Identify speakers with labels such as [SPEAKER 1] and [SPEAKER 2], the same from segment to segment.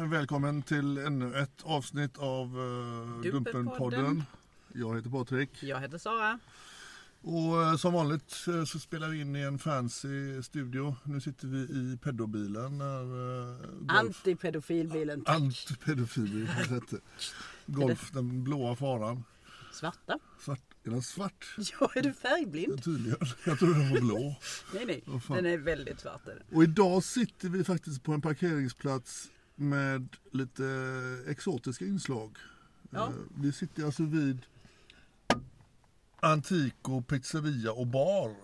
[SPEAKER 1] välkommen till ännu ett avsnitt av eh, Dumpenpodden.
[SPEAKER 2] Dumpenpodden.
[SPEAKER 1] Jag heter Patrik
[SPEAKER 2] Jag heter Sara.
[SPEAKER 1] och eh, som vanligt eh, så spelar vi in i en fancy studio. Nu sitter vi i pedobilen. När, eh, golf,
[SPEAKER 2] Antipedofilbilen.
[SPEAKER 1] Antipedofil heter Golf, den blåa faran.
[SPEAKER 2] Svarta.
[SPEAKER 1] Svart, är den svart?
[SPEAKER 2] Ja, är du färgblind?
[SPEAKER 1] Tydligen. Jag trodde den var blå.
[SPEAKER 2] Nej, nej.
[SPEAKER 1] fan.
[SPEAKER 2] Den är väldigt svart. är den.
[SPEAKER 1] Och idag sitter vi faktiskt på en parkeringsplats med lite exotiska inslag.
[SPEAKER 2] Ja.
[SPEAKER 1] Eh, Vi sitter alltså vid Antico pizzeria och bar.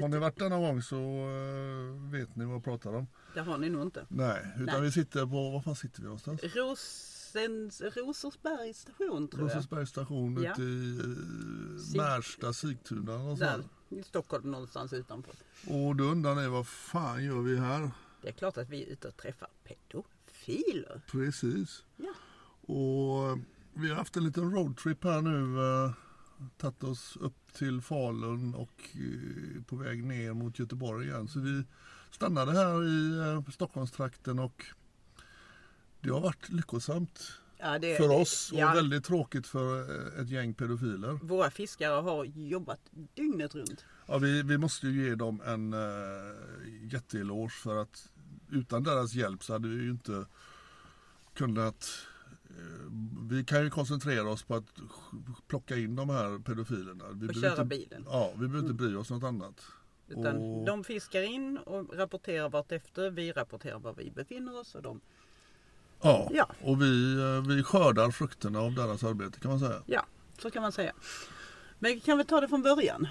[SPEAKER 1] Har ni varit där någon gång så eh, vet ni vad jag pratar om.
[SPEAKER 2] Det har ni nog inte.
[SPEAKER 1] Nej, utan
[SPEAKER 2] Nej.
[SPEAKER 1] vi sitter på, var fan sitter vi någonstans?
[SPEAKER 2] Rosens, Rosersbergs station tror jag.
[SPEAKER 1] Rosersbergs station
[SPEAKER 2] Ja.
[SPEAKER 1] ute i eh, Märsta, Sigtuna någonstans.
[SPEAKER 2] Där, i Stockholm någonstans utanför.
[SPEAKER 1] Och då undrar ni vad fan gör vi här?
[SPEAKER 2] Det är klart att vi är ute och träffar pedofiler.
[SPEAKER 1] Precis.
[SPEAKER 2] Ja.
[SPEAKER 1] Och vi har haft en liten roadtrip här nu. Eh, tagit oss upp till Falun och eh, på väg ner mot Göteborg igen. Så vi stannade här i eh, Stockholmstrakten och det har varit lyckosamt
[SPEAKER 2] Ja, det,
[SPEAKER 1] för oss och
[SPEAKER 2] ja,
[SPEAKER 1] väldigt tråkigt för eh, ett gäng pedofiler.
[SPEAKER 2] Våra fiskare har jobbat dygnet runt.
[SPEAKER 1] Ja, vi, vi måste ju ge dem en äh, jätteeloge för att utan deras hjälp så hade vi ju inte kunnat... eh, vi kan ju koncentrera oss på att sk- plocka in de här pedofilerna. Vi behöver
[SPEAKER 2] köra
[SPEAKER 1] inte,
[SPEAKER 2] bilen. Mm.
[SPEAKER 1] Ja, vi behöver inte bry oss något annat.
[SPEAKER 2] Utan
[SPEAKER 1] Och-
[SPEAKER 2] De fiskar in och rapporterar vartefter. Vi rapporterar var vi befinner oss. Och de,
[SPEAKER 1] Ja,
[SPEAKER 2] Ja.
[SPEAKER 1] och vi, eh, vi skördar frukterna av deras arbete kan man säga.
[SPEAKER 2] ja, så kan man säga. Men vi kan väl ta det från början.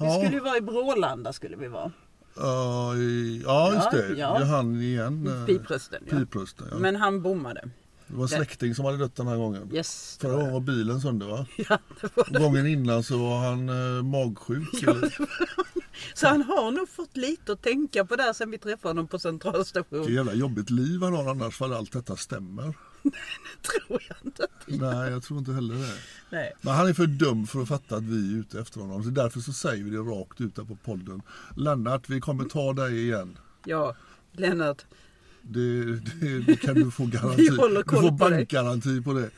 [SPEAKER 2] Vi
[SPEAKER 1] Ja.
[SPEAKER 2] skulle ju vara i Brålanda skulle vi vara.
[SPEAKER 1] Ja, i- ja just
[SPEAKER 2] Ja,
[SPEAKER 1] det.
[SPEAKER 2] ja.
[SPEAKER 1] Det är han igen. eh,
[SPEAKER 2] Piprösten. Ja.
[SPEAKER 1] Piprösten, ja.
[SPEAKER 2] Men han bommade.
[SPEAKER 1] Det var en släkting som hade dött den här gången.
[SPEAKER 2] Yes. det
[SPEAKER 1] Förra
[SPEAKER 2] var det.
[SPEAKER 1] gången var bilen sönder va?
[SPEAKER 2] Ja, det var det.
[SPEAKER 1] Gången innan så var han eh, magsjuk. eller?
[SPEAKER 2] Så han har nog fått lite att tänka på där sen vi träffade honom på
[SPEAKER 1] Vilket
[SPEAKER 2] centralstationen.
[SPEAKER 1] jävla jobbigt liv han har annars för allt detta stämmer.
[SPEAKER 2] Tror jag inte. att vi-
[SPEAKER 1] Nej, jag tror inte heller det.
[SPEAKER 2] Nej.
[SPEAKER 1] Men han är för dum för att fatta att vi är ute efter honom. Så därför så säger vi det rakt ut här på podden. Lennart, vi kommer ta dig igen.
[SPEAKER 2] Ja, Lennart.
[SPEAKER 1] Det, det, det kan du få garanti.
[SPEAKER 2] Vi håller
[SPEAKER 1] du
[SPEAKER 2] koll
[SPEAKER 1] får
[SPEAKER 2] på dig.
[SPEAKER 1] bankgaranti på det.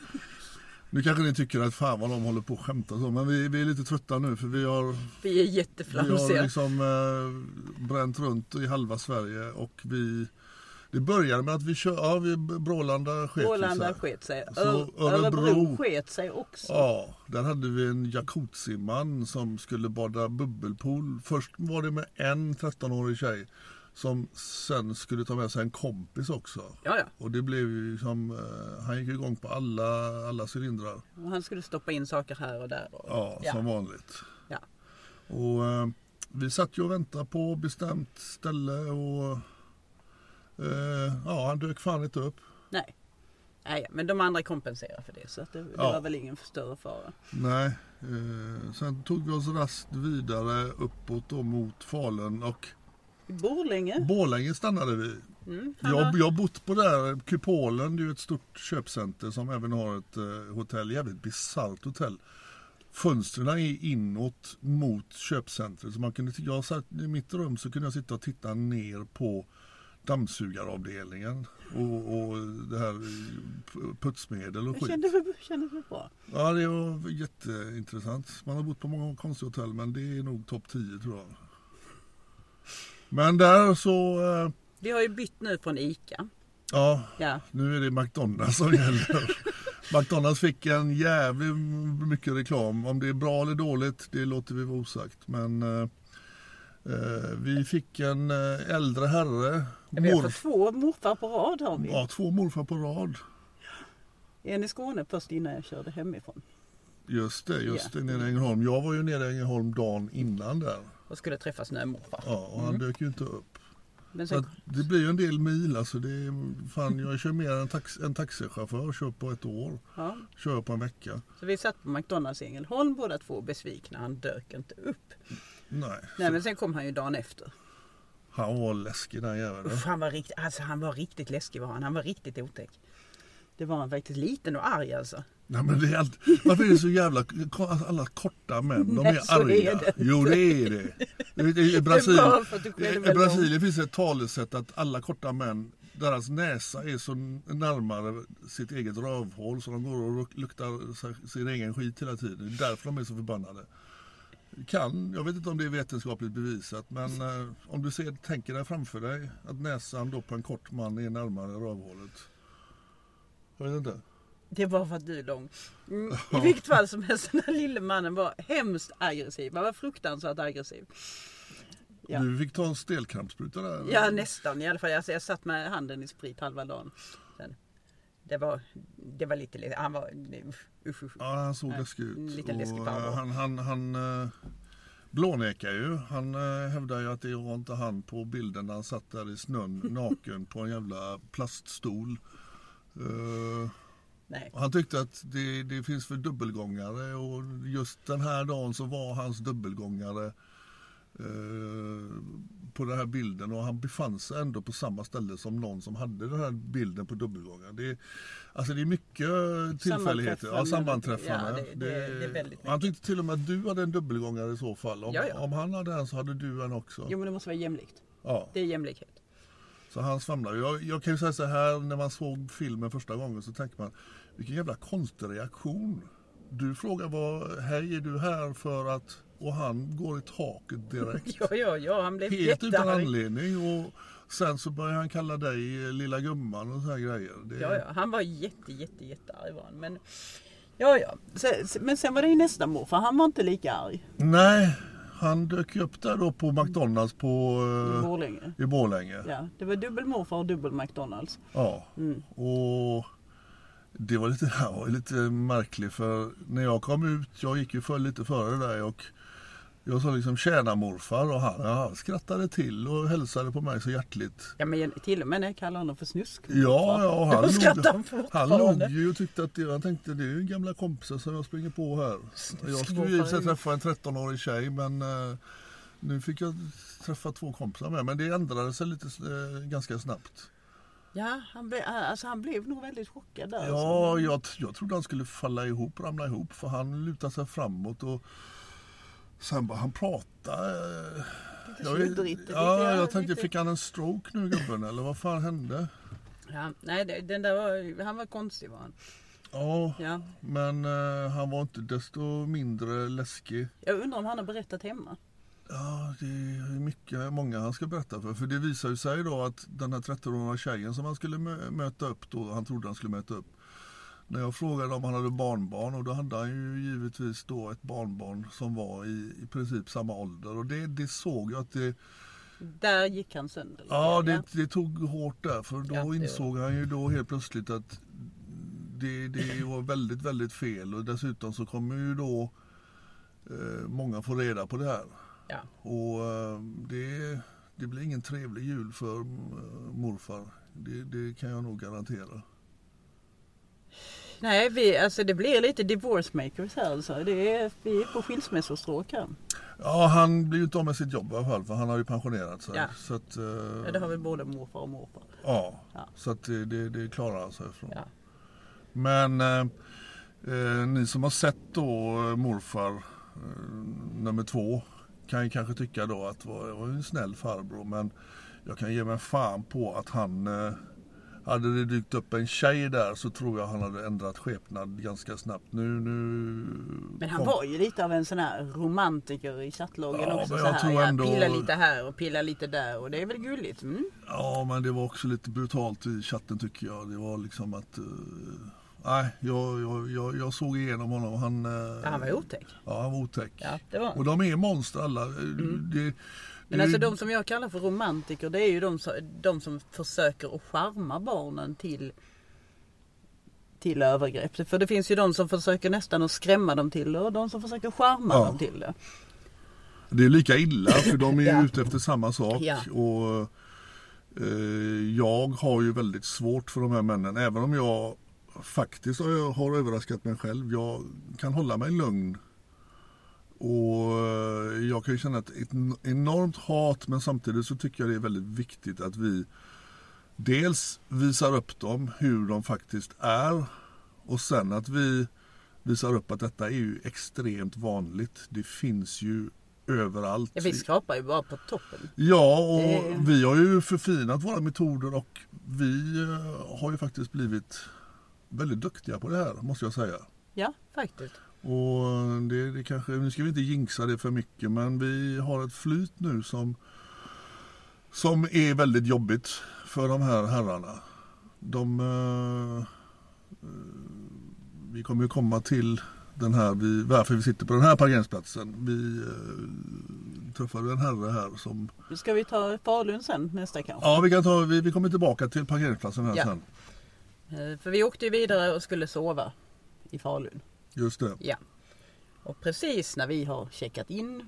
[SPEAKER 1] Nu kanske ni tycker att fan vad de håller på och skämtar så. Men vi, vi är lite trötta nu för vi har,
[SPEAKER 2] Vi är
[SPEAKER 1] vi
[SPEAKER 2] jätteflamsiga.
[SPEAKER 1] har liksom eh, bränt runt i halva Sverige och vi det började med att vi kör, ja, vi, Brålanda sket
[SPEAKER 2] Brålanda
[SPEAKER 1] sig.
[SPEAKER 2] sket sig.
[SPEAKER 1] Så Alltså,
[SPEAKER 2] Ö-
[SPEAKER 1] Örebro-
[SPEAKER 2] Örebro sket sig också.
[SPEAKER 1] Ja, där hade vi en jacuzziman som skulle bada bubbelpool. Först var det med en 13-årig tjej som sen skulle ta med sig en kompis också.
[SPEAKER 2] Ja, ja.
[SPEAKER 1] Och det blev ju som, eh, han gick ju igång på alla, alla cylindrar.
[SPEAKER 2] Och han skulle stoppa in saker här och där. Och,
[SPEAKER 1] Ja,
[SPEAKER 2] ja.
[SPEAKER 1] som vanligt.
[SPEAKER 2] ja.
[SPEAKER 1] Och eh, vi satt ju och väntade på bestämt ställe och Eh, ja, han dök fan inte upp.
[SPEAKER 2] Nej. Nej, men de andra kompenserar för det så att det, det
[SPEAKER 1] Ja.
[SPEAKER 2] var väl ingen större fara.
[SPEAKER 1] Nej. Eh, sen tog vi oss rast vidare uppåt då mot Falun och
[SPEAKER 2] I Borlänge?
[SPEAKER 1] Borlänge stannade vi.
[SPEAKER 2] Mm,
[SPEAKER 1] Jag, jag har bott på där Kupolen, det är ju ett stort köpcenter som även har ett eh, hotell, jävligt bisarrt hotell. Fönstren är inåt mot köpcentret. Så man kunde, jag satt i mitt rum så kunde jag sitta och titta ner på dammsugaravdelningen och, och det här eh, putsmedel och
[SPEAKER 2] Jag
[SPEAKER 1] skit.
[SPEAKER 2] kände mig, kände mig bra.
[SPEAKER 1] Ja, det var jätteintressant. Man har bott på många konstiga hotell, men det är nog topp 10 tror jag. Men där så, eh,
[SPEAKER 2] Vi har ju bytt nu från ICA.
[SPEAKER 1] ja,
[SPEAKER 2] Ja.
[SPEAKER 1] nu är det McDonalds som gäller. McDonalds fick en jävligt mycket reklam. Om det är bra eller dåligt, det låter vi vara osagt. Men eh, eh, vi fick en eh, äldre herre,
[SPEAKER 2] Vi har fått
[SPEAKER 1] morf-
[SPEAKER 2] två morfar på rad har vi.
[SPEAKER 1] ja, två morfar på rad.
[SPEAKER 2] En i Skåne först innan jag körde hemifrån.
[SPEAKER 1] Just det, just det, nere i Ängelholm. Jag var ju nere i Ängelholm dagen innan där.
[SPEAKER 2] Och skulle träffa snömorfar.
[SPEAKER 1] Ja, och han
[SPEAKER 2] Mm.
[SPEAKER 1] dök ju inte upp.
[SPEAKER 2] Men
[SPEAKER 1] Så att
[SPEAKER 2] sen,
[SPEAKER 1] det blir ju en del mil. Alltså det är, fan, jag kör mer än tax, en taxichaufför kör på ett år.
[SPEAKER 2] ja,
[SPEAKER 1] Kör på en vecka.
[SPEAKER 2] så vi satt på McDonalds i Ängelholm båda två besvikna. Han dök inte upp.
[SPEAKER 1] Nej,
[SPEAKER 2] Nej men sen kom han ju dagen efter.
[SPEAKER 1] han var läskig den jäveln.
[SPEAKER 2] Uff, han, var rikt, alltså, han var riktigt läskig var han. Han var riktigt otäck. Det var han faktiskt. Liten och arg alltså.
[SPEAKER 1] Nej, men det är allt, varför är det så jävla... alltså, Alla korta män, de
[SPEAKER 2] Nej,
[SPEAKER 1] är
[SPEAKER 2] så är
[SPEAKER 1] arga.
[SPEAKER 2] det.
[SPEAKER 1] jo, det är det. I, i, i,
[SPEAKER 2] bara för att du själv
[SPEAKER 1] Brasilien, i
[SPEAKER 2] är lång.
[SPEAKER 1] Brasilien finns ett talesätt att alla korta män, deras näsa är så närmare sitt eget rövhål så de går och luk- luktar sig- sin egen skit hela tiden. Det är därför de är så förbannade. Kan, jag vet inte om det är vetenskapligt bevisat, men eh, om du ser, tänker dig framför dig att näsan då på en kort man är närmare rövhålet. Jag vet inte.
[SPEAKER 2] Det var för att du är lång. Mm, I vilket fall som helst, den här lille mannen var hemskt aggressiv. Han var fruktansvärt aggressiv. Ja.
[SPEAKER 1] Du fick ta en stelkrampsspruta där? eller?
[SPEAKER 2] Ja nästan i alla fall. Alltså, jag satt med handen i sprit halva dagen. Sen, det, var, det var lite läskigt. Han var... nej, Usch, usch, usch.
[SPEAKER 1] Ja, han såg
[SPEAKER 2] Nej,
[SPEAKER 1] läskig ut.
[SPEAKER 2] lite läskig
[SPEAKER 1] och,
[SPEAKER 2] farbror.
[SPEAKER 1] eh, han, han, han eh, blånekar ju. Han eh, hävdar ju att det var inte han på bilden när han satt där i snön naken på en jävla plaststol. Eh,
[SPEAKER 2] Nej.
[SPEAKER 1] han tyckte att det, det finns för dubbelgångare och just den här dagen så var hans dubbelgångare eh, på den här bilden och han befann sig ändå på samma ställe som någon som hade den här bilden på dubbelgångaren. Det är, alltså det är mycket tillfälligheter. Ja,
[SPEAKER 2] Sammanträffanden.
[SPEAKER 1] sammanträffanden.
[SPEAKER 2] Ja, det- det- det är väldigt mycket.
[SPEAKER 1] han tyckte till och med att du hade en dubbelgångare i så fall. Om,
[SPEAKER 2] Ja, ja.
[SPEAKER 1] om han hade en så hade du en också.
[SPEAKER 2] Jo men det måste vara jämlikt.
[SPEAKER 1] Ja.
[SPEAKER 2] Det är jämlikhet.
[SPEAKER 1] Så han svamlar. Jag, jag kan ju säga så här, när man såg filmen första gången så tänkte man, vilken jävla konstig reaktion. Du frågar vad, hej är du här för att, och han går i taket direkt.
[SPEAKER 2] Ja, ja, ja. Han blev
[SPEAKER 1] Helt utan
[SPEAKER 2] jättearg.
[SPEAKER 1] anledning och sen så börjar han kalla dig eh, lilla gumman och så här grejer. Det,
[SPEAKER 2] Ja, ja. Han var jätte, jätte, jättearg var han. Men, ja, ja. Se- se- Men sen var det ju nästa morfar. Han var inte lika arg.
[SPEAKER 1] Nej, han dök ju upp där då på McDonalds på,
[SPEAKER 2] I
[SPEAKER 1] eh,
[SPEAKER 2] Borlänge.
[SPEAKER 1] i Borlänge.
[SPEAKER 2] Ja, det var dubbel morfar och dubbel McDonalds.
[SPEAKER 1] Ja, och det var lite, han var lite märklig för när jag kom ut, jag gick ju för, lite före dig och jag sa liksom tjena morfar och han, ja, han skrattade till och hälsade på mig så hjärtligt.
[SPEAKER 2] Ja, men jag- till och med när jag kallar honom för snusk.
[SPEAKER 1] Ja, ja,
[SPEAKER 2] Då
[SPEAKER 1] han
[SPEAKER 2] skrattar han
[SPEAKER 1] log, han
[SPEAKER 2] fortfarande.
[SPEAKER 1] log ju och tyckte att det, han tänkte det är ju gamla kompisar som jag springer på här. Jag skulle ju i och för sig träffa en 13-årig tjej men eh, nu fick jag träffa två kompisar med. Men det ändrade sig lite eh, ganska snabbt.
[SPEAKER 2] Ja, han, blev- alltså, han blev nog väldigt chockad där. alltså.
[SPEAKER 1] Ja, jag, t- jag trodde han skulle falla ihop, ramla ihop, för han lutade sig framåt och sen bara han pratade. eh, Jag, vet-
[SPEAKER 2] sluddrigt,
[SPEAKER 1] ja,
[SPEAKER 2] lite-
[SPEAKER 1] jag tänkte,
[SPEAKER 2] lite-
[SPEAKER 1] fick han en stroke nu gubben eller vad fan hände?
[SPEAKER 2] Ja, nej, det- den där var, han var konstig var han.
[SPEAKER 1] Ja,
[SPEAKER 2] Ja.
[SPEAKER 1] men eh, han var inte desto mindre läskig.
[SPEAKER 2] Jag undrar om han har berättat hemma.
[SPEAKER 1] Ja, det är mycket, många han ska berätta för. För det visar ju sig då att den här 13-åriga tjejen som han skulle mö- möta upp då, han trodde han skulle möta upp. När jag frågade om han hade barnbarn och då hade han ju givetvis då ett barnbarn som var i, i princip samma ålder. Och det, det såg jag att det,
[SPEAKER 2] Där gick han sönder.
[SPEAKER 1] ja, det, det tog hårt där. För då
[SPEAKER 2] Ja, det-
[SPEAKER 1] insåg han ju då helt plötsligt att det, det var väldigt, väldigt fel. Och dessutom så kommer ju då eh, många få reda på det här.
[SPEAKER 2] Ja.
[SPEAKER 1] Och eh, det, det blir ingen trevlig jul för eh, morfar. Det, det kan jag nog garantera.
[SPEAKER 2] Nej, vi, alltså det blir lite divorce makers här alltså. Det är, vi är på skilsmässostråk här.
[SPEAKER 1] Ja, han blir ju inte av med sitt jobb i alla fall för han har ju pensionerat sig.
[SPEAKER 2] Ja.
[SPEAKER 1] Så att, eh,
[SPEAKER 2] Ja, det har väl både morfar och morfar.
[SPEAKER 1] Ja,
[SPEAKER 2] Ja.
[SPEAKER 1] så att det, det, det klarar han sig ifrån.
[SPEAKER 2] Ja.
[SPEAKER 1] Men eh, eh, ni som har sett då eh, morfar eh, nummer två kan ju kanske tycka då att det var det var ju en snäll farbror men jag kan ge mig fan på att han eh, hade det dykt upp en tjej där så tror jag han hade ändrat skepnad ganska snabbt. Nu, nu
[SPEAKER 2] Men han
[SPEAKER 1] kom-
[SPEAKER 2] var ju lite av en sån här romantiker i chattloggen
[SPEAKER 1] Ja,
[SPEAKER 2] också.
[SPEAKER 1] men
[SPEAKER 2] Så
[SPEAKER 1] jag
[SPEAKER 2] här,
[SPEAKER 1] tror
[SPEAKER 2] ja,
[SPEAKER 1] ändå-
[SPEAKER 2] Pilla lite här och pilla lite där och det är väl gulligt. Mm.
[SPEAKER 1] Ja, men det var också lite brutalt i chatten tycker jag. Det var liksom att... eh, nej, jag, jag, jag, jag såg igenom honom. Han, eh,
[SPEAKER 2] Ja, han var otäck.
[SPEAKER 1] Ja, han var otäck.
[SPEAKER 2] Ja, det var han.
[SPEAKER 1] Och de är monster alla. Eh, Det,
[SPEAKER 2] Men
[SPEAKER 1] det-
[SPEAKER 2] alltså de som jag kallar för romantiker det är ju de som, de som försöker att charma barnen till, till övergrepp. För det finns ju de som försöker nästan att skrämma dem till det och de som försöker charma
[SPEAKER 1] Ja.
[SPEAKER 2] dem till det.
[SPEAKER 1] Det är lika illa för de är ju
[SPEAKER 2] Ja.
[SPEAKER 1] ute efter samma sak.
[SPEAKER 2] Ja.
[SPEAKER 1] Och, eh, jag har ju väldigt svårt för de här männen. Även om jag faktiskt har, jag har överraskat mig själv. Jag kan hålla mig lugn. Och eh, jag kan ju känna ett, ett enormt hat men samtidigt så tycker jag det är väldigt viktigt att vi dels visar upp dem hur de faktiskt är och sen att vi visar upp att detta är ju extremt vanligt. Det finns ju överallt.
[SPEAKER 2] Ja, vi skrapar ju bara på toppen.
[SPEAKER 1] Ja, och
[SPEAKER 2] Det-
[SPEAKER 1] vi har ju förfinat våra metoder och vi eh, har ju faktiskt blivit väldigt duktiga på det här, måste jag säga.
[SPEAKER 2] Ja, faktiskt.
[SPEAKER 1] Och det, det kanske, nu ska vi inte jinxa det för mycket, men vi har ett flyt nu som, som är väldigt jobbigt för de här herrarna. De, eh, eh, vi kommer ju komma till den här, vi, varför vi sitter på den här parkeringsplatsen. Vi eh, träffade en herre här som
[SPEAKER 2] Nu ska vi ta Falun sen nästa kanske.
[SPEAKER 1] Ja, vi, kan ta, vi, vi kommer tillbaka till parkeringsplatsen här
[SPEAKER 2] Ja.
[SPEAKER 1] sen.
[SPEAKER 2] Eh, För vi åkte ju vidare och skulle sova i Falun.
[SPEAKER 1] Just det.
[SPEAKER 2] Ja. Och precis när vi har checkat in.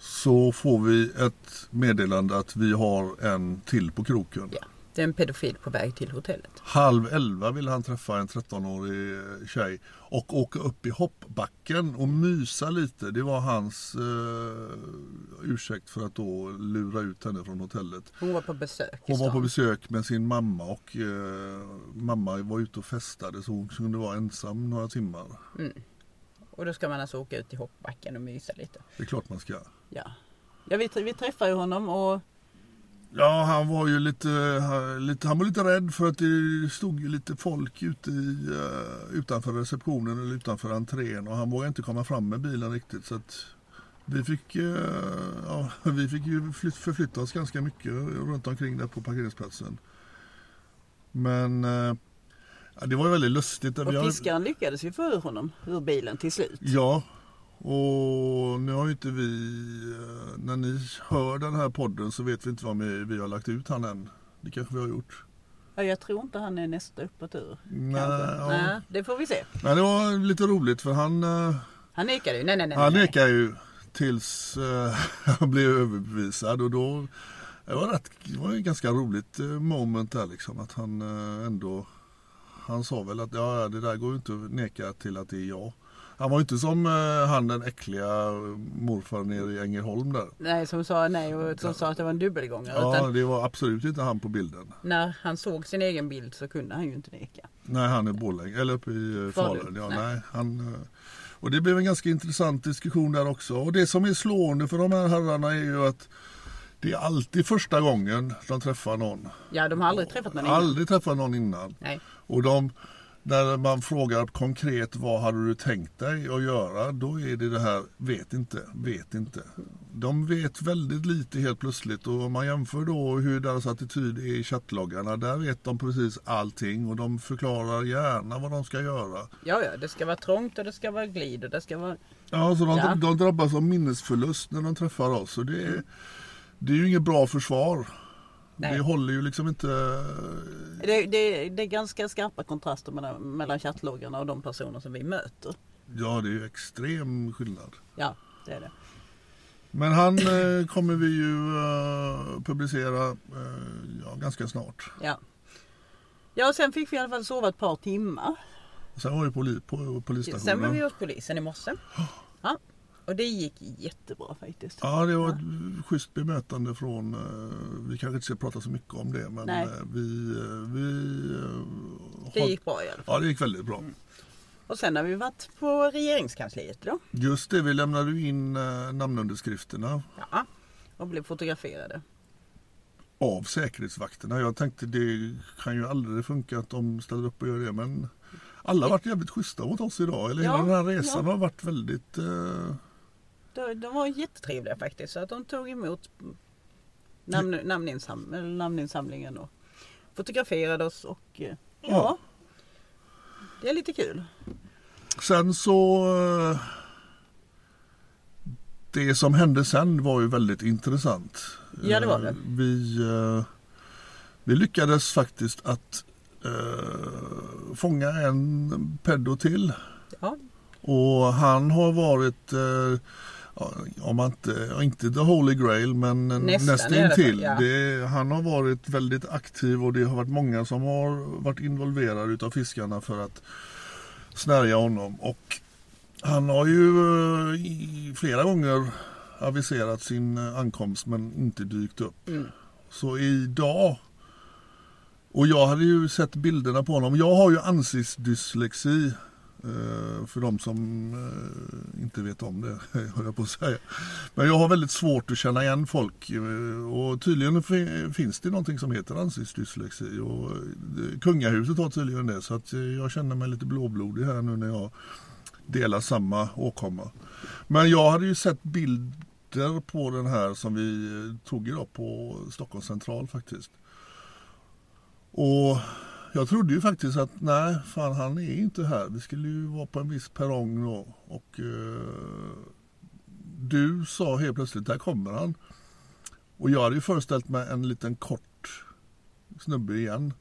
[SPEAKER 1] Så får vi ett meddelande att vi har en till på kroken.
[SPEAKER 2] Ja. Det är en pedofil på väg till hotellet.
[SPEAKER 1] Halv elva vill han träffa en 13-årig tjej och åka upp i hoppbacken och mysa lite. Det var hans eh, ursäkt för att då lura ut henne från hotellet.
[SPEAKER 2] Hon var på besök i
[SPEAKER 1] Hon var på
[SPEAKER 2] stan.
[SPEAKER 1] besök med sin mamma och eh, mamma var ute och festade så hon kunde vara ensam några timmar.
[SPEAKER 2] Och då ska man alltså åka ut till hoppbacken och mysa lite.
[SPEAKER 1] Det är klart man ska.
[SPEAKER 2] Ja, ja vi, vi träffar ju honom och
[SPEAKER 1] Ja, han var ju lite, han- lite, han var lite rädd för att det stod ju lite folk ute i, eh, utanför receptionen eller utanför entrén och han vågade inte komma fram med bilen riktigt. Så att vi fick, eh, ja, vi fick ju flytt, förflytta oss ganska mycket runt omkring där på parkeringsplatsen. Men eh, ja, det var ju väldigt lustigt. Vi
[SPEAKER 2] och
[SPEAKER 1] har-
[SPEAKER 2] fiskaren lyckades ju få ur honom ur bilen till slut.
[SPEAKER 1] Ja, och nu har ju inte vi... eh, När ni hör den här podden så vet vi inte vad vi vi har lagt ut han än. Det kanske vi har gjort.
[SPEAKER 2] Ja, jag tror inte han är nästa upp på tur.
[SPEAKER 1] Nej,
[SPEAKER 2] kanske.
[SPEAKER 1] ja.
[SPEAKER 2] nej, det får vi se.
[SPEAKER 1] Men det var lite roligt för han, eh,
[SPEAKER 2] Han nekade ju. Nej, nej, nej.
[SPEAKER 1] han
[SPEAKER 2] nej.
[SPEAKER 1] nekar ju tills eh, han blev överbevisad och då... Det var, rätt, det var ju ett ganska roligt eh, moment där liksom att han eh, ändå... Han sa väl att ja, det där går ju inte att neka till att det är jag. Han var ju inte som eh, han den äckliga eh, morfar nere i Ängelholm där.
[SPEAKER 2] Nej, som sa nej och som sa att det var en dubbelgångare.
[SPEAKER 1] Ja,
[SPEAKER 2] Utan
[SPEAKER 1] det var absolut inte han på bilden.
[SPEAKER 2] när han såg sin egen bild så kunde han ju inte neka.
[SPEAKER 1] Nej, han är Borlänge, eller uppe i eh, Falun.
[SPEAKER 2] Falun,
[SPEAKER 1] Ja,
[SPEAKER 2] nej.
[SPEAKER 1] nej. han, eh, och det blev en ganska intressant diskussion där också. Och det som är slående för de här herrarna är ju att det är alltid första gången de träffar någon.
[SPEAKER 2] Ja, de har aldrig träffat någon innan.
[SPEAKER 1] Aldrig träffat någon innan.
[SPEAKER 2] Nej.
[SPEAKER 1] Och de, när man frågar konkret vad hade du tänkt dig att göra, då är det det här vet inte, vet inte. De vet väldigt lite helt plötsligt och om man jämför då hur deras attityd är i chattloggarna, där vet de precis allting och de förklarar gärna vad de ska göra.
[SPEAKER 2] Ja, ja, det ska vara trångt och det ska vara glid och det ska vara...
[SPEAKER 1] Ja, Mm. så de,
[SPEAKER 2] Ja.
[SPEAKER 1] de drabbas av minnesförlust när de träffar oss och det är, det är ju inget bra försvar.
[SPEAKER 2] Nej.
[SPEAKER 1] Det håller ju liksom inte...
[SPEAKER 2] Det, det, det är ganska skarpa kontraster mellan, mellan chattloggarna och de personer som vi möter.
[SPEAKER 1] Ja, det är ju extrem skillnad.
[SPEAKER 2] Ja, det är det.
[SPEAKER 1] Men han eh, kommer vi ju eh, publicera eh, ja, ganska snart.
[SPEAKER 2] Ja. Ja, och sen fick vi i alla fall sova ett par timmar.
[SPEAKER 1] Sen var vi på, li- på
[SPEAKER 2] Sen var
[SPEAKER 1] polisstationen.
[SPEAKER 2] vi hos polisen i morse. Ja. Och det gick jättebra faktiskt.
[SPEAKER 1] Ja, det var ett schysst bemötande från, eh, vi kanske inte ska prata så mycket om det, men
[SPEAKER 2] Nej.
[SPEAKER 1] eh, vi... eh, vi eh,
[SPEAKER 2] Det
[SPEAKER 1] har-
[SPEAKER 2] gick Mm. bra i alla fall.
[SPEAKER 1] Ja, det gick väldigt bra.
[SPEAKER 2] Och sen har vi varit på regeringskansliet då.
[SPEAKER 1] Just det, vi lämnade ju in eh, namnunderskrifterna
[SPEAKER 2] Ja. Och blev fotograferade.
[SPEAKER 1] av säkerhetsvakterna. Jag tänkte det kan ju aldrig funka att de ställer upp och gör det, men alla har varit jävligt schyssta mot oss idag. Eller
[SPEAKER 2] Ja,
[SPEAKER 1] hela den här resan
[SPEAKER 2] ja.
[SPEAKER 1] har varit väldigt... Eh,
[SPEAKER 2] De, de var jättetrevliga faktiskt. Så att de tog emot namn, namninsam, eller namninsamlingen och fotograferade oss. Och eh, ja,
[SPEAKER 1] Ja.
[SPEAKER 2] det är lite kul.
[SPEAKER 1] Sen så... eh, Det som hände sen var ju väldigt intressant.
[SPEAKER 2] Ja, det var det.
[SPEAKER 1] Eh, Vi, eh, vi lyckades faktiskt att eh, fånga en peddo till.
[SPEAKER 2] Ja,
[SPEAKER 1] Och han har varit, eh, ja, om man inte, ja, inte the holy grail men
[SPEAKER 2] Nästan i alla fall,
[SPEAKER 1] nästintill.
[SPEAKER 2] ja.
[SPEAKER 1] Det, han har varit väldigt aktiv och det har varit många som har varit involverade utav fiskarna för att snärja honom. Och han har ju eh, i- flera gånger aviserat sin eh, ankomst men inte dykt upp.
[SPEAKER 2] Mm.
[SPEAKER 1] Så idag och jag hade ju sett bilderna på honom. Jag har ju ansiktsdyslexi. eh, För de som eh, inte vet om det, höll jag på att säga. Men jag har väldigt svårt att känna igen folk. eh, Och tydligen fi- finns det någonting som heter ansiktsdyslexi. Och eh, kungahuset har tydligen det. Så att eh, jag känner mig lite blåblodig här nu när jag delar samma åkomma. Men jag hade ju sett bilder på den här som vi eh, tog idag på Stockholms central faktiskt. Och jag trodde ju faktiskt att nej, fan han är inte här. Vi skulle ju vara på en viss perrong då. Och eh, du sa helt plötsligt, där kommer han. Och jag hade ju föreställt mig en liten kort snubbe igen.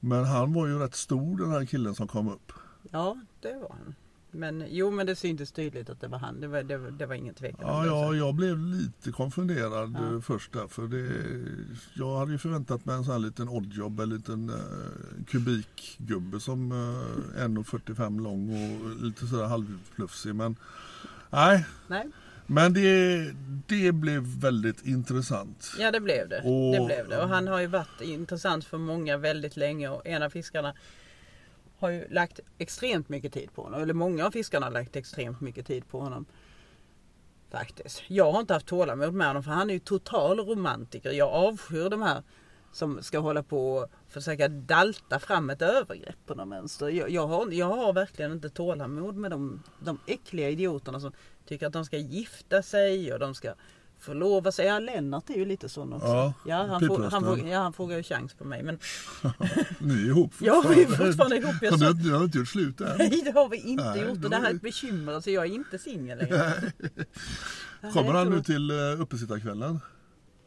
[SPEAKER 1] Men han var ju rätt stor den här killen som kom upp.
[SPEAKER 2] ja det var han. Men jo, men det syntes tydligt att det var han. Det var, det, var- det var ingen tvekan om
[SPEAKER 1] Ja,
[SPEAKER 2] det.
[SPEAKER 1] ja,
[SPEAKER 2] Så-
[SPEAKER 1] jag blev lite konfunderad eh, först där. För det, jag hade ju förväntat mig en sån här liten oddjob, en liten eh, kubikgubbe som eh, 1,45 lång och lite sådär halvplufsig. Men nej,
[SPEAKER 2] Nej,
[SPEAKER 1] men det, det blev väldigt intressant.
[SPEAKER 2] ja det blev det.
[SPEAKER 1] Och-
[SPEAKER 2] det blev det. Och han har ju varit intressant för många väldigt länge. Och en av fiskarna har ju lagt extremt mycket tid på honom. Eller många av fiskarna har lagt extremt mycket tid på honom. Faktiskt. Jag har inte haft tålamod med honom för han är ju total romantiker. Jag avskyr de här som ska hålla på och försöka dalta fram ett övergrepp på någon vänster. Jag, jag, har, jag har verkligen inte tålamod med de, de äckliga idioterna som tycker att de ska gifta sig och de ska förlova sig. Ja, Lennart är ju lite sån också.
[SPEAKER 1] Ja,
[SPEAKER 2] han, får, han,
[SPEAKER 1] piprösten.
[SPEAKER 2] får, ja han frågar ju chans på mig. Men
[SPEAKER 1] Ni är ihop
[SPEAKER 2] Ja, vi är fortfarande ihop. Jag
[SPEAKER 1] Har
[SPEAKER 2] sa-
[SPEAKER 1] du, inte- ni har inte gjort slut än.
[SPEAKER 2] Nej det har vi inte
[SPEAKER 1] Nej,
[SPEAKER 2] gjort
[SPEAKER 1] då
[SPEAKER 2] och det här är
[SPEAKER 1] är-
[SPEAKER 2] ett bekymmer. Alltså jag är inte singel längre.
[SPEAKER 1] Kommer han nu
[SPEAKER 2] tror-
[SPEAKER 1] till eh, uppesittarkvällen?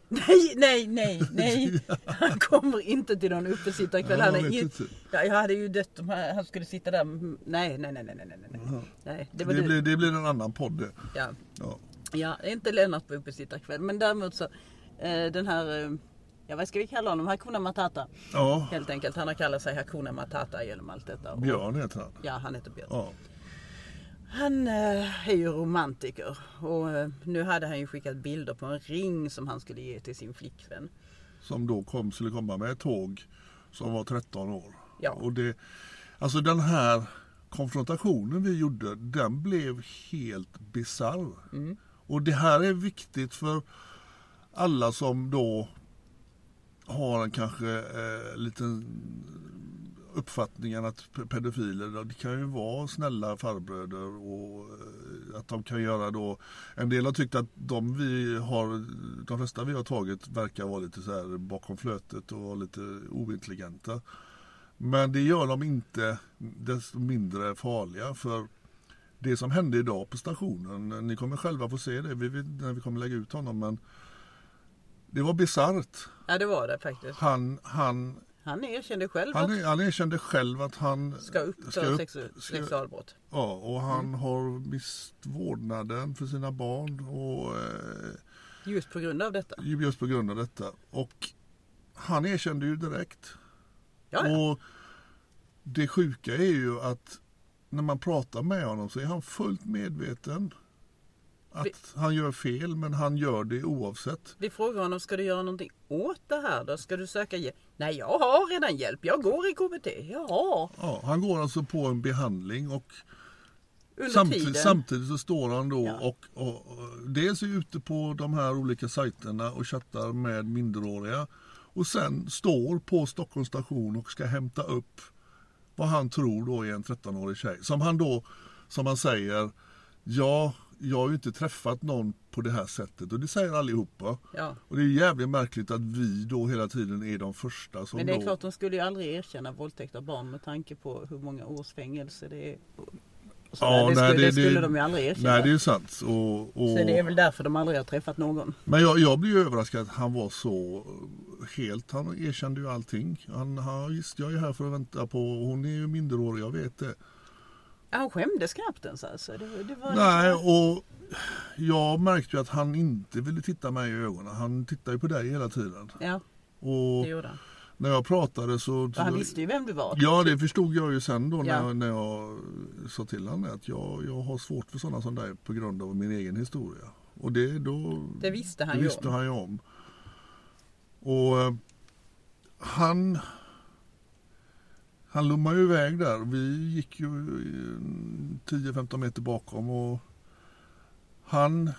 [SPEAKER 2] Nej, nej, nej, nej. Han kommer inte till någon uppesittarkväll.
[SPEAKER 1] Ja,
[SPEAKER 2] Han
[SPEAKER 1] jag
[SPEAKER 2] är
[SPEAKER 1] vet
[SPEAKER 2] in...
[SPEAKER 1] inte.
[SPEAKER 2] ja, jag hade ju dött om han han skulle sitta där. Mm, Nej, nej, nej, nej, nej, nej, nej. nej det
[SPEAKER 1] Det,
[SPEAKER 2] var du.
[SPEAKER 1] blir, det blir en annan podd det.
[SPEAKER 2] Ja.
[SPEAKER 1] Ja.
[SPEAKER 2] ja, inte Lennart på uppesittarkväll. Men däremot så eh, den här, eh, ja vad ska vi kalla honom? Hakuna Matata.
[SPEAKER 1] ja,
[SPEAKER 2] Helt enkelt. Han har kallat sig Hakuna Matata genom allt detta. Och,
[SPEAKER 1] Björn heter han.
[SPEAKER 2] ja, han heter Björn.
[SPEAKER 1] Ja.
[SPEAKER 2] Han eh, är ju romantiker och eh, nu hade han ju skickat bilder på en ring som han skulle ge till sin flickvän.
[SPEAKER 1] som då kom, skulle komma med ett tåg som var 13 år.
[SPEAKER 2] Ja.
[SPEAKER 1] Och det, alltså den här konfrontationen vi gjorde, den blev helt bisarr. Och det här är viktigt för alla som då har en kanske eh, liten uppfattningen att p- pedofiler det kan ju vara snälla farbröder och eh, att de kan göra då en del har tyckt att de vi har de flesta vi har tagit verkar vara lite så här bakom flötet och vara lite ointelligenta. Men det gör de inte desto mindre farliga för det som hände idag på stationen, ni kommer själva få se det vi vet inte när vi kommer lägga ut honom men det var bisarrt.
[SPEAKER 2] Ja det var det faktiskt.
[SPEAKER 1] Han, han
[SPEAKER 2] Han erkände själv
[SPEAKER 1] Han,
[SPEAKER 2] att
[SPEAKER 1] är, han erkände själv att han
[SPEAKER 2] ska uppta
[SPEAKER 1] ska upp-
[SPEAKER 2] sexu-
[SPEAKER 1] ska-
[SPEAKER 2] sexualbrott.
[SPEAKER 1] Ja, och han
[SPEAKER 2] Mm.
[SPEAKER 1] har mist vårdnaden för sina barn och eh,
[SPEAKER 2] Just på grund av detta.
[SPEAKER 1] just på grund av detta. Och han erkände ju direkt.
[SPEAKER 2] Ja, ja.
[SPEAKER 1] Och det sjuka är ju att när man pratar med honom så är han fullt medveten att
[SPEAKER 2] Vi-
[SPEAKER 1] han gör fel, men han gör det oavsett.
[SPEAKER 2] Vi frågar honom, ska du göra någonting åt det här då? Ska du söka hjälp? Nej, jag har redan hjälp. Jag går i KBT. Jaha.
[SPEAKER 1] Ja, han går alltså på en behandling och
[SPEAKER 2] Under tiden.
[SPEAKER 1] samtidigt, samtidigt så står han då och, och, och dels är ute på de här olika sajterna och chattar med minderåriga och sen står på Stockholms station och ska hämta upp vad han tror då är en 13-årig tjej. Som han då, som han säger, ja, jag har ju inte träffat någon på det här sättet och det säger allihopa.
[SPEAKER 2] Ja.
[SPEAKER 1] Och det är jävligt märkligt att vi då hela tiden är de första som
[SPEAKER 2] Men det är
[SPEAKER 1] då...
[SPEAKER 2] klart, de skulle ju aldrig erkänna våldtäkt av barn med tanke på hur många års fängelse det är. Och sådär. det, skulle, det skulle de ju aldrig erkänna.
[SPEAKER 1] Nej, det är ju sant. Och, och...
[SPEAKER 2] Så det är väl därför de aldrig har träffat någon.
[SPEAKER 1] Men jag, jag blev ju överraskad att han var så helt, han erkände ju allting. Han, han just, jag är här för att vänta på, hon är ju minderårig, jag vet det.
[SPEAKER 2] Ja, Han skämdes knappt ens alltså. Det, det var
[SPEAKER 1] Nej, och jag märkte ju att han inte ville titta mig i ögonen. Han tittar ju på dig hela tiden.
[SPEAKER 2] Ja,
[SPEAKER 1] Och
[SPEAKER 2] det gjorde han.
[SPEAKER 1] när jag pratade så...
[SPEAKER 2] Och han visste ju vem du var.
[SPEAKER 1] Ja, det förstod jag ju sen då när,
[SPEAKER 2] Ja.
[SPEAKER 1] jag, när jag sa till honom att jag, jag har svårt för sådana som dig på grund av min egen historia. Och det, då,
[SPEAKER 2] Det visste han
[SPEAKER 1] det
[SPEAKER 2] ju
[SPEAKER 1] visste
[SPEAKER 2] om.
[SPEAKER 1] han ju om. Och eh, han... Han lommade ju iväg där. Vi gick ju eh, 10-15 meter bakom och han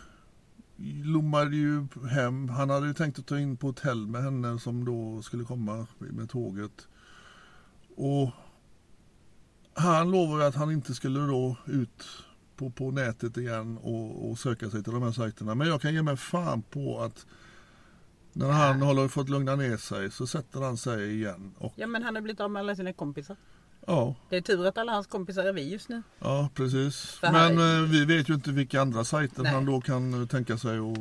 [SPEAKER 1] lommade ju hem. Han hade ju tänkt att ta in på hotell med henne som då skulle komma med tåget. Och han lovade ju att han inte skulle då ut på, på nätet igen och, och söka sig till de här sajterna. Men jag kan ge mig fan på att när han håller fått lugna ner sig så sätter han sig igen. Och,
[SPEAKER 2] Ja, men han har blivit av med alla sina kompisar.
[SPEAKER 1] ja,
[SPEAKER 2] Det är tur att alla hans kompisar är vi just nu.
[SPEAKER 1] ja, precis.
[SPEAKER 2] För
[SPEAKER 1] Men
[SPEAKER 2] han-
[SPEAKER 1] eh, vi vet ju inte vilka andra sajter
[SPEAKER 2] Nej.
[SPEAKER 1] han då kan eh, tänka sig. Och,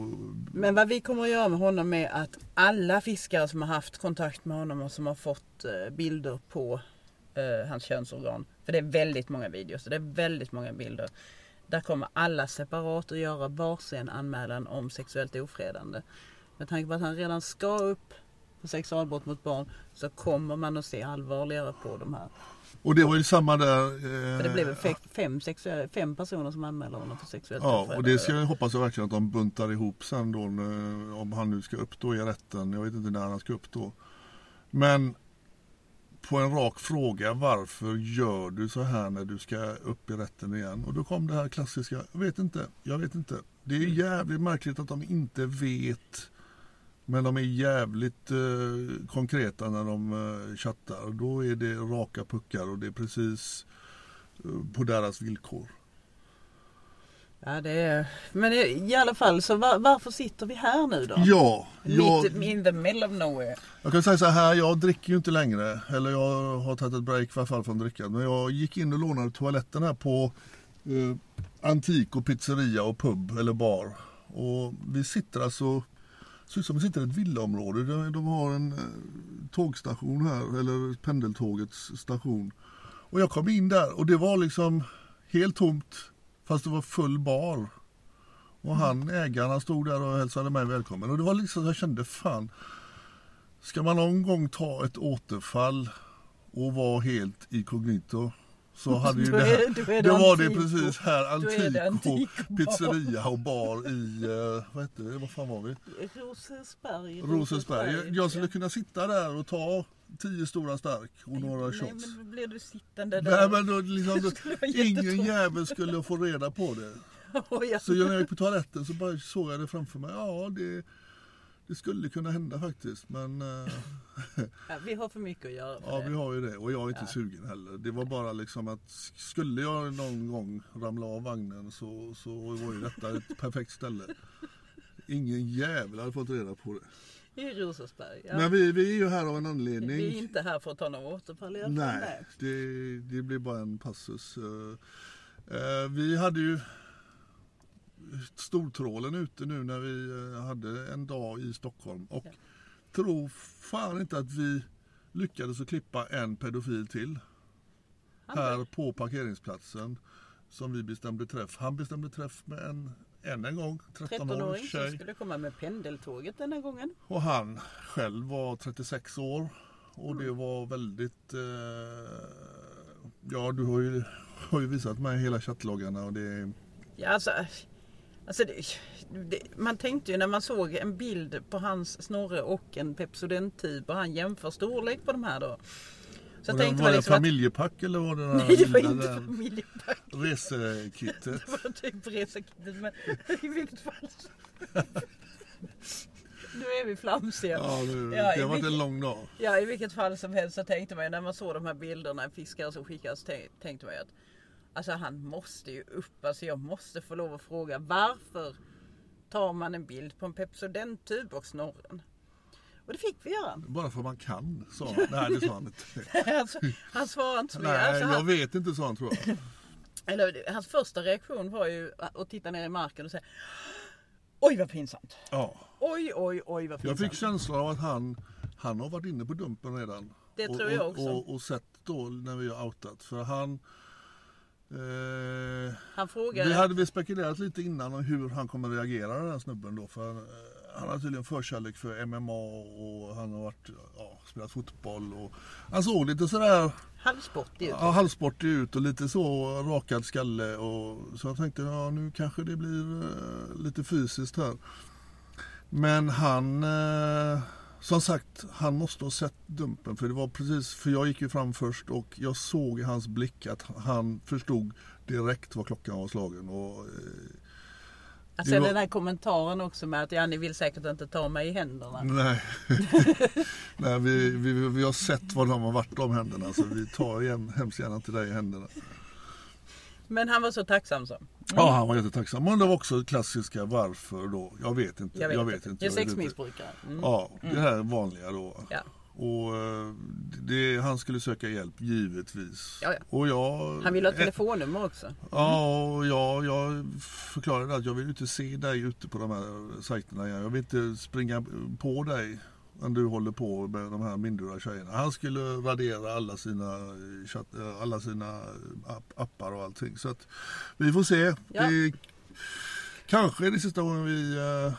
[SPEAKER 2] Men vad vi kommer att göra med honom är att alla fiskare som har haft kontakt med honom och som har fått eh, bilder på eh, hans könsorgan. För det är väldigt många videos och det är väldigt många bilder. Där kommer alla separat att göra varsin anmälan om sexuellt ofredande. Med tanke på att han redan ska upp för sexualbrott mot barn så kommer man att se allvarligare på de här.
[SPEAKER 1] och det var ju samma där. eh,
[SPEAKER 2] För det blev väl fe- fem, sexuella, fem personer som anmälde honom för sexuellt
[SPEAKER 1] Ja, och
[SPEAKER 2] ofredande.
[SPEAKER 1] det ska jag hoppas jag verkligen att de buntar ihop sen då när- om han nu ska upp då i rätten. Jag vet inte när han ska upp då. Men på en rak fråga, varför gör du så här när du ska upp i rätten igen? Och då kom det här klassiska, jag vet inte, jag vet inte. Det
[SPEAKER 2] Mm.
[SPEAKER 1] är jävligt märkligt att de inte vet. Men de är jävligt eh, konkreta när de eh, chattar. Då är det raka puckar och det är precis eh, på deras villkor.
[SPEAKER 2] Ja, det är... Men det- i alla fall, så var, varför sitter vi här nu då?
[SPEAKER 1] Ja, jag...
[SPEAKER 2] Mitt in the middle of nowhere.
[SPEAKER 1] Jag kan säga så här, jag dricker ju inte längre. Eller jag har tagit ett break i alla fall från drickan. Men jag gick in och lånade toaletten här på eh, Antik och pizzeria och pub eller bar. Och vi sitter alltså, ser ut som vi sitter i ett villaområde. De, de har en eh, tågstation här, eller pendeltågets station. Och jag kom in där och det var liksom helt tomt, fast det var full bar. Och han, ägaren, han stod där och hälsade mig välkommen. Och det var liksom, jag kände fan, Ska man någon gång ta ett återfall och vara helt inkognito så hade ju
[SPEAKER 2] Då
[SPEAKER 1] det
[SPEAKER 2] är- då är det
[SPEAKER 1] här, det var det
[SPEAKER 2] Antico.
[SPEAKER 1] precis här,
[SPEAKER 2] Då är det
[SPEAKER 1] Antico,
[SPEAKER 2] Antico bar.
[SPEAKER 1] pizzeria och bar i, eh, vad hette det, vad fan var vi?
[SPEAKER 2] Rosersberg.
[SPEAKER 1] Rosensberg. Jag skulle kunna sitta där och ta tio stora stark och några shots.
[SPEAKER 2] Nej, men då blir du sittande där.
[SPEAKER 1] Nej men då, liksom, då,
[SPEAKER 2] Det skulle vara
[SPEAKER 1] ingen
[SPEAKER 2] jättetråkigt.
[SPEAKER 1] jävel skulle få reda på det.
[SPEAKER 2] Och jag-
[SPEAKER 1] Så när jag gick på toaletten så bara såg jag det framför mig. Ja, det, det skulle kunna hända faktiskt men eh,
[SPEAKER 2] ja, vi har för mycket att göra med
[SPEAKER 1] Ja,
[SPEAKER 2] det.
[SPEAKER 1] vi har ju det. Och jag är inte sugen heller. Det var bara liksom att skulle jag någon gång ramla av vagnen så, så var ju detta ett perfekt ställe. Ingen jävel hade fått reda på det.
[SPEAKER 2] I Rosersberg. Ja.
[SPEAKER 1] Men vi, vi är ju här av en
[SPEAKER 2] vi är
[SPEAKER 1] anledning.
[SPEAKER 2] inte här för att ta några återfall i alla fall.
[SPEAKER 1] Nej, det, det blir bara en passus. Eh, eh, Vi hade ju stortrålen ute nu när vi eh, hade en dag i Stockholm. Och tro fan inte att vi lyckades att klippa en pedofil till. Här på parkeringsplatsen som vi bestämde träff. Han bestämde träff med en, än en gång, 13-årig
[SPEAKER 2] 13-åring som
[SPEAKER 1] tjej.
[SPEAKER 2] skulle komma med pendeltåget den här gången.
[SPEAKER 1] Och han själv var 36 år. Och det
[SPEAKER 2] Mm.
[SPEAKER 1] var väldigt... Eh, ja, du har ju, har ju visat mig hela chattloggarna och det...
[SPEAKER 2] Ja, alltså, alltså det, det, man tänkte ju när man såg en bild på hans snorre och en Pepsodent-tub och han jämför storlek på de här då. Så
[SPEAKER 1] och
[SPEAKER 2] tänkte
[SPEAKER 1] var
[SPEAKER 2] man
[SPEAKER 1] det
[SPEAKER 2] liksom att,
[SPEAKER 1] familjepack eller var det den här
[SPEAKER 2] Nej, det var
[SPEAKER 1] lilla
[SPEAKER 2] inte
[SPEAKER 1] där
[SPEAKER 2] familjepack.
[SPEAKER 1] resekittet?
[SPEAKER 2] Det var typ resekittet. Men i vilket fall. så- Nu är vi flamsiga.
[SPEAKER 1] Ja, det, det
[SPEAKER 2] Ja,
[SPEAKER 1] har varit
[SPEAKER 2] i
[SPEAKER 1] en
[SPEAKER 2] vilket-
[SPEAKER 1] lång dag.
[SPEAKER 2] Ja, i vilket fall som helst så tänkte man ju när man såg de här bilderna, fiskare som skickas, tän- tänkte man ju att alltså han måste ju upp, alltså jag måste få lov att fråga varför tar man en bild på en Pepsodent-tub och snorren? Och det fick vi göra.
[SPEAKER 1] Bara för man kan, sa han. Nej, det sa han inte.
[SPEAKER 2] Alltså, han svarade inte så mycket.
[SPEAKER 1] Nej,
[SPEAKER 2] Alltså,
[SPEAKER 1] jag
[SPEAKER 2] han,
[SPEAKER 1] vet inte, sa han tror jag.
[SPEAKER 2] eller, hans första reaktion var ju att titta ner i marken och säga Oj vad pinsamt!
[SPEAKER 1] Ja.
[SPEAKER 2] Oj, oj, oj vad
[SPEAKER 1] Jag
[SPEAKER 2] pinsamt!
[SPEAKER 1] fick känslan av att han, han har varit inne på dumpen redan.
[SPEAKER 2] Det
[SPEAKER 1] och,
[SPEAKER 2] tror jag också.
[SPEAKER 1] Och, och, och sett då när vi har outat. För han... Eh,
[SPEAKER 2] Han frågade...
[SPEAKER 1] vi hade vi spekulerat lite innan om hur han kommer reagera den här snubben då. För han, eh, han har tydligen förkärlek för MMA och han har varit, ja, spelat fotboll. Och, han såg lite sådär
[SPEAKER 2] Halvsport ju.
[SPEAKER 1] ja, halvsportig ut och lite så rakad skalle. Och, så jag tänkte ja, nu kanske det blir eh, lite fysiskt här. Men han, eh, som sagt, han måste ha sett Dumpen. För det var precis, för jag gick ju fram först och jag såg i hans blick att han förstod direkt vad klockan var slagen. Och, eh,
[SPEAKER 2] Alltså
[SPEAKER 1] det var-
[SPEAKER 2] den här kommentaren också med att ja, ni vill säkert inte ta mig i händerna.
[SPEAKER 1] Nej, Nej vi, vi, vi vi har sett vad de har varit om händerna så vi tar igen, hemskt gärna inte dig i händerna.
[SPEAKER 2] Men han var så tacksam så.
[SPEAKER 1] Ja, han var jättetacksam. Men det var också klassiska varför då? Jag vet inte.
[SPEAKER 2] Jag vet, inte. Jag är
[SPEAKER 1] jag vet inte.
[SPEAKER 2] sexmissbrukare. Mm.
[SPEAKER 1] Ja, det här är vanliga då.
[SPEAKER 2] Ja.
[SPEAKER 1] Och eh, det, han skulle söka hjälp, givetvis.
[SPEAKER 2] Ja, ja.
[SPEAKER 1] Och jag,
[SPEAKER 2] Han ville ha
[SPEAKER 1] eh,
[SPEAKER 2] telefonnummer också.
[SPEAKER 1] Ja, och jag, jag förklarade att jag vill ju inte se dig ute på de här sajterna igen. Jag vill inte springa på dig när du håller på med de här mindre tjejerna. Han skulle radera alla sina, eh, chatt, eh, alla sina eh, app, appar och allting. Så att vi får se. Det, kanske är det sista gången vi eh,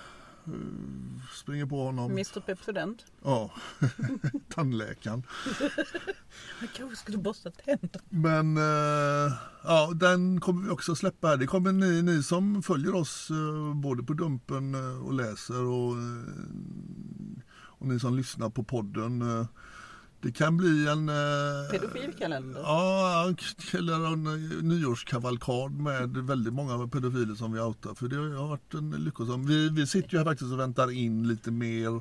[SPEAKER 1] springer på honom.
[SPEAKER 2] Mr Pepsodent.
[SPEAKER 1] ja, tandläkaren.
[SPEAKER 2] Han kanske skulle borsta tänderna.
[SPEAKER 1] Men eh, ja, den kommer vi också släppa här. Det kommer ni, ni som följer oss eh, både på Dumpen eh, och läser och, eh, och ni som lyssnar på podden. eh, det kan bli en... eh,
[SPEAKER 2] Pedofilkalender.
[SPEAKER 1] Ja, en k- eller en eh, nyårskavalkad med väldigt många pedofiler som vi outar. För det har varit en lyckosam... Vi, vi sitter ju här faktiskt och väntar in lite mer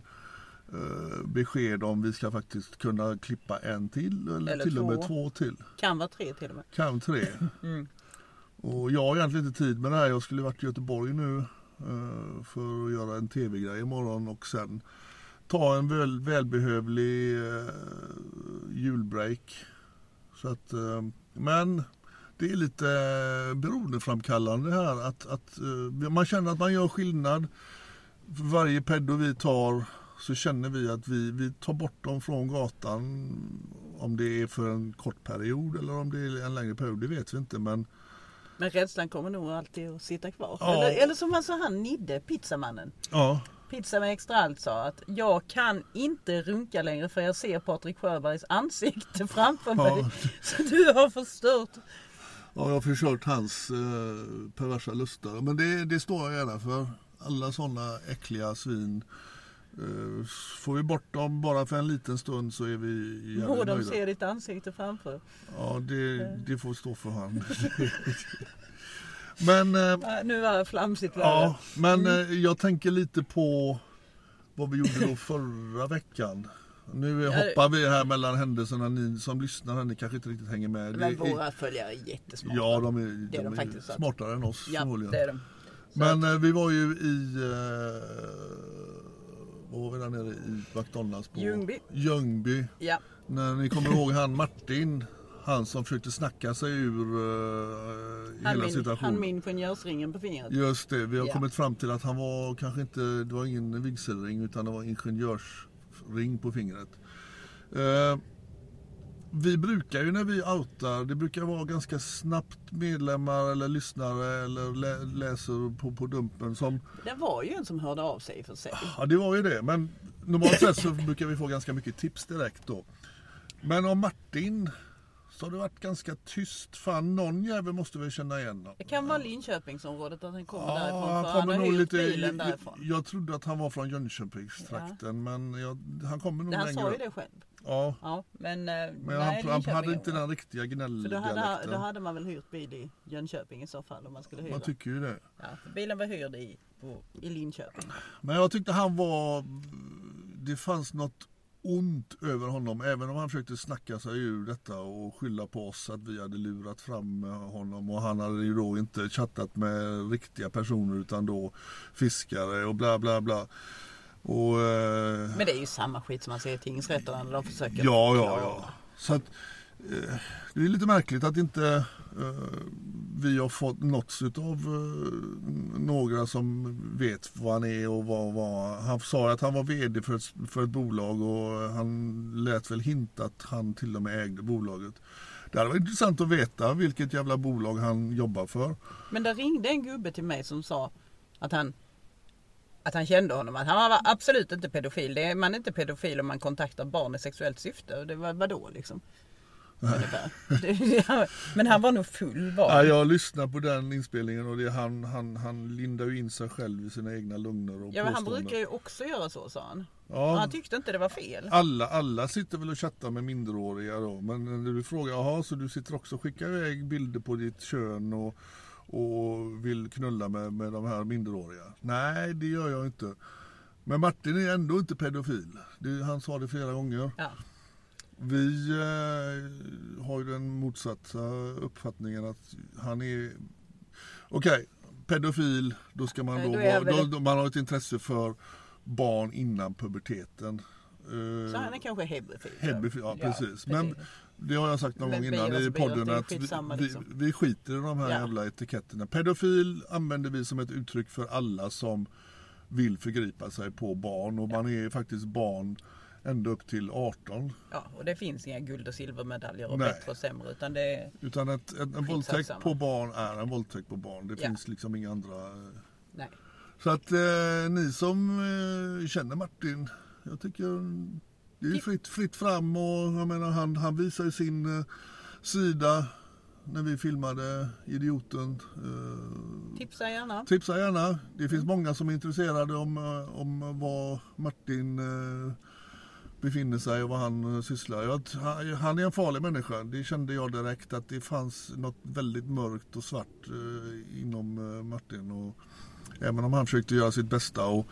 [SPEAKER 1] eh, besked om vi ska faktiskt kunna klippa en till eller,
[SPEAKER 2] Eller
[SPEAKER 1] till och med
[SPEAKER 2] två.
[SPEAKER 1] två till.
[SPEAKER 2] Kan vara tre till och med.
[SPEAKER 1] Kan tre. Och jag har egentligen inte tid med det här. Jag skulle varit i Göteborg nu eh, för att göra en tv-grej imorgon och sen ta en väl, välbehövlig eh, julbreak. Så att, eh, men det är lite beroendeframkallande här. Att, att, eh, man känner att man gör skillnad. För varje peddo vi tar så känner vi att vi, vi tar bort dem från gatan. Om det är för en kort period eller om det är en längre period, det vet vi inte. Men
[SPEAKER 2] Men rädslan kommer nog alltid att sitta kvar.
[SPEAKER 1] Ja.
[SPEAKER 2] Eller, eller som alltså han Nidde, pizzamannen.
[SPEAKER 1] ja,
[SPEAKER 2] Pizza med extra allt sa att jag kan inte runka längre för jag ser Patrik Sjöbergs ansikte framför mig. Så du har förstört
[SPEAKER 1] ja jag har förstört hans eh, perversa lustar. Men det, det står jag gärna för. Alla sådana äckliga svin. Eh, får vi bort dem bara för en liten stund så är vi
[SPEAKER 2] Må
[SPEAKER 1] jävligt
[SPEAKER 2] de
[SPEAKER 1] nöjda.
[SPEAKER 2] se ditt ansikte framför.
[SPEAKER 1] Ja, det, det får stå för han. men eh,
[SPEAKER 2] Äh, Nu var det flamsigt värre.
[SPEAKER 1] Ja, men
[SPEAKER 2] Mm.
[SPEAKER 1] eh, jag tänker lite på vad vi gjorde då förra veckan. Nu är- hoppar vi här mellan händelserna. Ni som lyssnar, här, ni kanske inte riktigt hänger med. Det
[SPEAKER 2] Men
[SPEAKER 1] är-
[SPEAKER 2] våra följare är jättesmarta.
[SPEAKER 1] Ja, de är,
[SPEAKER 2] de
[SPEAKER 1] de är
[SPEAKER 2] faktiskt, så att-
[SPEAKER 1] smartare än oss
[SPEAKER 2] Ja,
[SPEAKER 1] förmodligen.
[SPEAKER 2] det är de.
[SPEAKER 1] Men eh, vi var ju i... Eh, vad var vi där nere i McDonalds? På?
[SPEAKER 2] Ljungby.
[SPEAKER 1] Ljungby.
[SPEAKER 2] Ja.
[SPEAKER 1] När ni kommer ihåg han Martin. Han som försökte snacka sig ur eh,
[SPEAKER 2] Han,
[SPEAKER 1] hela
[SPEAKER 2] min,
[SPEAKER 1] situationen.
[SPEAKER 2] han med ingenjörsringen på fingret.
[SPEAKER 1] Just det, vi har
[SPEAKER 2] Ja.
[SPEAKER 1] kommit fram till att han var kanske inte, det var ingen vigselring utan det var ingenjörsring på fingret. Eh, vi brukar ju när vi outar, det brukar vara ganska snabbt medlemmar eller lyssnare eller lä- läser på, på Dumpen som
[SPEAKER 2] Det var ju en som hörde av sig i och för sig.
[SPEAKER 1] Ja, det var ju det. Men normalt sett så brukar vi få ganska mycket tips direkt då. Men om Martin så har det varit ganska tyst. Fan, någon jävel måste vi känna igen. då.
[SPEAKER 2] Det kan vara Linköpingsområdet att han kommer
[SPEAKER 1] Ja,
[SPEAKER 2] därifrån. För han har hyrt bilen därifrån.
[SPEAKER 1] jag, jag trodde att han var från Jönköpingstrakten, men jag, han kommer nog
[SPEAKER 2] han
[SPEAKER 1] längre.
[SPEAKER 2] sa ju det själv.
[SPEAKER 1] Ja,
[SPEAKER 2] Ja, men, eh,
[SPEAKER 1] men
[SPEAKER 2] nej,
[SPEAKER 1] han, han hade
[SPEAKER 2] Linköping-
[SPEAKER 1] inte den riktiga
[SPEAKER 2] För då hade,
[SPEAKER 1] gnälldialekten.
[SPEAKER 2] då hade man väl hyrt bil i Jönköping i så fall om man skulle hyra.
[SPEAKER 1] Man tycker ju det.
[SPEAKER 2] Ja, för bilen var hyrd i, på, i Linköping.
[SPEAKER 1] Men jag tyckte han var... Det fanns något ont över honom. Även om han försökte snacka sig ur detta och skylla på oss att vi hade lurat fram honom. Och han hade ju då inte chattat med riktiga personer utan då fiskare och bla bla bla. Och... Eh,
[SPEAKER 2] Men det är ju samma skit som man ser i tingsrätterna när de försöker.
[SPEAKER 1] ja, ja,
[SPEAKER 2] klara.
[SPEAKER 1] ja. Så att, eh, det är lite märkligt att inte eh, vi har fått nåtts av några som vet vad han är och vad, vad. Han sa att han var vd för ett, för ett bolag och eh, han lät väl hinta att han till och med ägde bolaget. Det hade varit intressant att veta vilket jävla bolag han jobbar för.
[SPEAKER 2] Men det ringde en gubbe till mig som sa att han, att han kände honom. Att han var absolut inte pedofil. Det är, man är inte pedofil om man kontaktar barn i sexuellt syfte. Och det var vadå liksom? Ungefär. Det- Men han var nog full var
[SPEAKER 1] Ja,
[SPEAKER 2] han.
[SPEAKER 1] jag lyssnar på den inspelningen och det, är han, han, han lindar ju in sig själv i sina egna lögner och
[SPEAKER 2] Ja, men han
[SPEAKER 1] påståenden.
[SPEAKER 2] brukar ju också göra så sa han.
[SPEAKER 1] Ja.
[SPEAKER 2] Och Han tyckte inte det var fel.
[SPEAKER 1] Alla, alla sitter väl och chattar med minderåriga då. Men när du frågar, jaha så du sitter också och skickar iväg bilder på ditt kön och, och vill knulla med, med de här minderåriga? Nej, det gör jag inte. Men Martin är ändå inte pedofil. Det, han sa det flera gånger.
[SPEAKER 2] Ja.
[SPEAKER 1] Vi eh, har ju den motsatta uppfattningen att han är... Okej, pedofil, då ska man
[SPEAKER 2] Nej,
[SPEAKER 1] då,
[SPEAKER 2] då är
[SPEAKER 1] vara,
[SPEAKER 2] jag
[SPEAKER 1] då,
[SPEAKER 2] väldigt-
[SPEAKER 1] då man har ett intresse för barn innan puberteten. Eh,
[SPEAKER 2] Så han är kanske hebefil.
[SPEAKER 1] Hebby, ja, precis. Men det har jag sagt någon
[SPEAKER 2] Men
[SPEAKER 1] gång
[SPEAKER 2] bias
[SPEAKER 1] innan i
[SPEAKER 2] och bias,
[SPEAKER 1] podden
[SPEAKER 2] det är
[SPEAKER 1] att vi,
[SPEAKER 2] skitsamma,
[SPEAKER 1] vi,
[SPEAKER 2] liksom.
[SPEAKER 1] vi skiter i de här
[SPEAKER 2] Ja.
[SPEAKER 1] jävla etiketterna. Pedofil använder vi som ett uttryck för alla som vill förgripa sig på barn och man är faktiskt barn ända upp till 18.
[SPEAKER 2] Ja, och det finns inga guld och silvermedaljer och
[SPEAKER 1] Nej.
[SPEAKER 2] bättre och sämre. Utan det är...
[SPEAKER 1] Utan att en, en våldtäkt
[SPEAKER 2] samma.
[SPEAKER 1] på barn är en våldtäkt på barn. Det
[SPEAKER 2] Ja.
[SPEAKER 1] finns liksom inga andra. eh.
[SPEAKER 2] Nej.
[SPEAKER 1] Så att eh, ni som eh, känner Martin, jag tycker det är ju fritt, fritt fram och jag menar han, han visar ju sin eh, sida när vi filmade Idioten. Eh,
[SPEAKER 2] Tipsa gärna.
[SPEAKER 1] tipsa gärna. Det finns många som är intresserade om, eh, om var Martin eh, befinner sig och vad han eh, sysslar. Jag, t- han- han är en farlig människa. Det kände jag direkt att det fanns något väldigt mörkt och svart eh, inom eh, Martin. Och även om han försökte göra sitt bästa och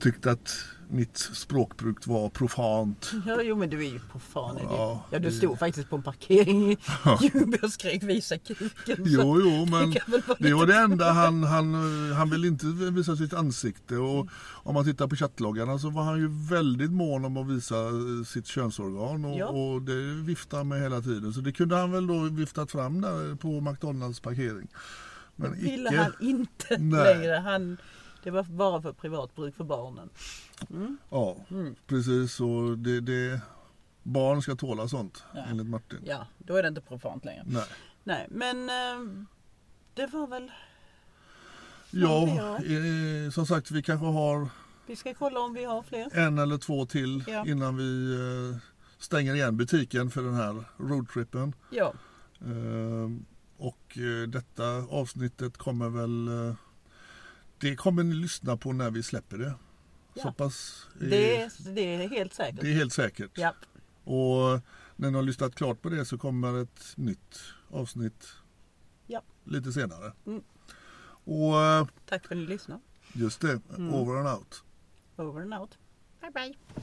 [SPEAKER 1] tyckte att mitt språkbruk var profant.
[SPEAKER 2] Ja, jo men du är ju på fan.
[SPEAKER 1] Ja,
[SPEAKER 2] Ja, ja, du
[SPEAKER 1] det-
[SPEAKER 2] stod faktiskt på en parkering i Ljungby och skrek visa kuken. så
[SPEAKER 1] Jo, jo, men
[SPEAKER 2] det kan väl vara
[SPEAKER 1] det var
[SPEAKER 2] lite-
[SPEAKER 1] det enda han, han, eh, han ville inte visa sitt ansikte. Och om man tittar på chattloggarna så var han ju väldigt mån om att visa eh, sitt könsorgan och,
[SPEAKER 2] Ja.
[SPEAKER 1] och det viftade han med hela tiden. Så det kunde han väl då viftat fram där på McDonalds parkering. Men
[SPEAKER 2] ville
[SPEAKER 1] icke.
[SPEAKER 2] han inte
[SPEAKER 1] Nej.
[SPEAKER 2] längre. Han, det var bara för privat bruk för barnen.
[SPEAKER 1] Ja,
[SPEAKER 2] Mm.
[SPEAKER 1] precis. Och det, det, barn ska tåla sånt enligt Martin.
[SPEAKER 2] Ja, då är det inte profant längre.
[SPEAKER 1] Nej.
[SPEAKER 2] Nej, men eh, det var väl...
[SPEAKER 1] Ja,
[SPEAKER 2] Ja.
[SPEAKER 1] eh, som sagt vi kanske har
[SPEAKER 2] Vi ska kolla om vi har fler.
[SPEAKER 1] en eller två till
[SPEAKER 2] Ja.
[SPEAKER 1] innan vi eh, stänger igen butiken för den här roadtrippen.
[SPEAKER 2] Ja,
[SPEAKER 1] Eh, och eh, detta avsnittet kommer väl... Eh, det kommer ni lyssna på när vi släpper det.
[SPEAKER 2] Ja.
[SPEAKER 1] Så pass... eh,
[SPEAKER 2] det, är- det är helt säkert.
[SPEAKER 1] det är helt säkert.
[SPEAKER 2] Ja,
[SPEAKER 1] Och eh, när ni har lyssnat klart på det så kommer ett nytt avsnitt
[SPEAKER 2] ja.
[SPEAKER 1] lite senare.
[SPEAKER 2] Mm.
[SPEAKER 1] Och eh,
[SPEAKER 2] Tack för att ni lyssnade.
[SPEAKER 1] just det,
[SPEAKER 2] Mm.
[SPEAKER 1] over and out.
[SPEAKER 2] Over and out. Bye bye.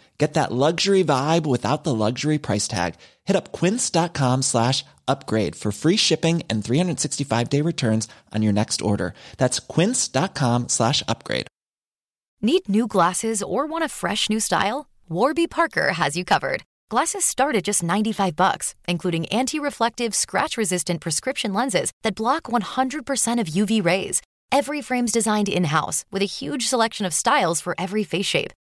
[SPEAKER 3] Get that luxury vibe without the luxury price tag. Hit up quince.com slash upgrade for free shipping and 365-day returns on your next order. That's quince.com slash upgrade.
[SPEAKER 4] Need new glasses or want a fresh new style? Warby Parker has you covered. Glasses start at just 95 bucks, including anti-reflective, scratch-resistant prescription lenses that block 100% of UV rays. Every frame's designed in-house with a huge selection of styles for every face shape.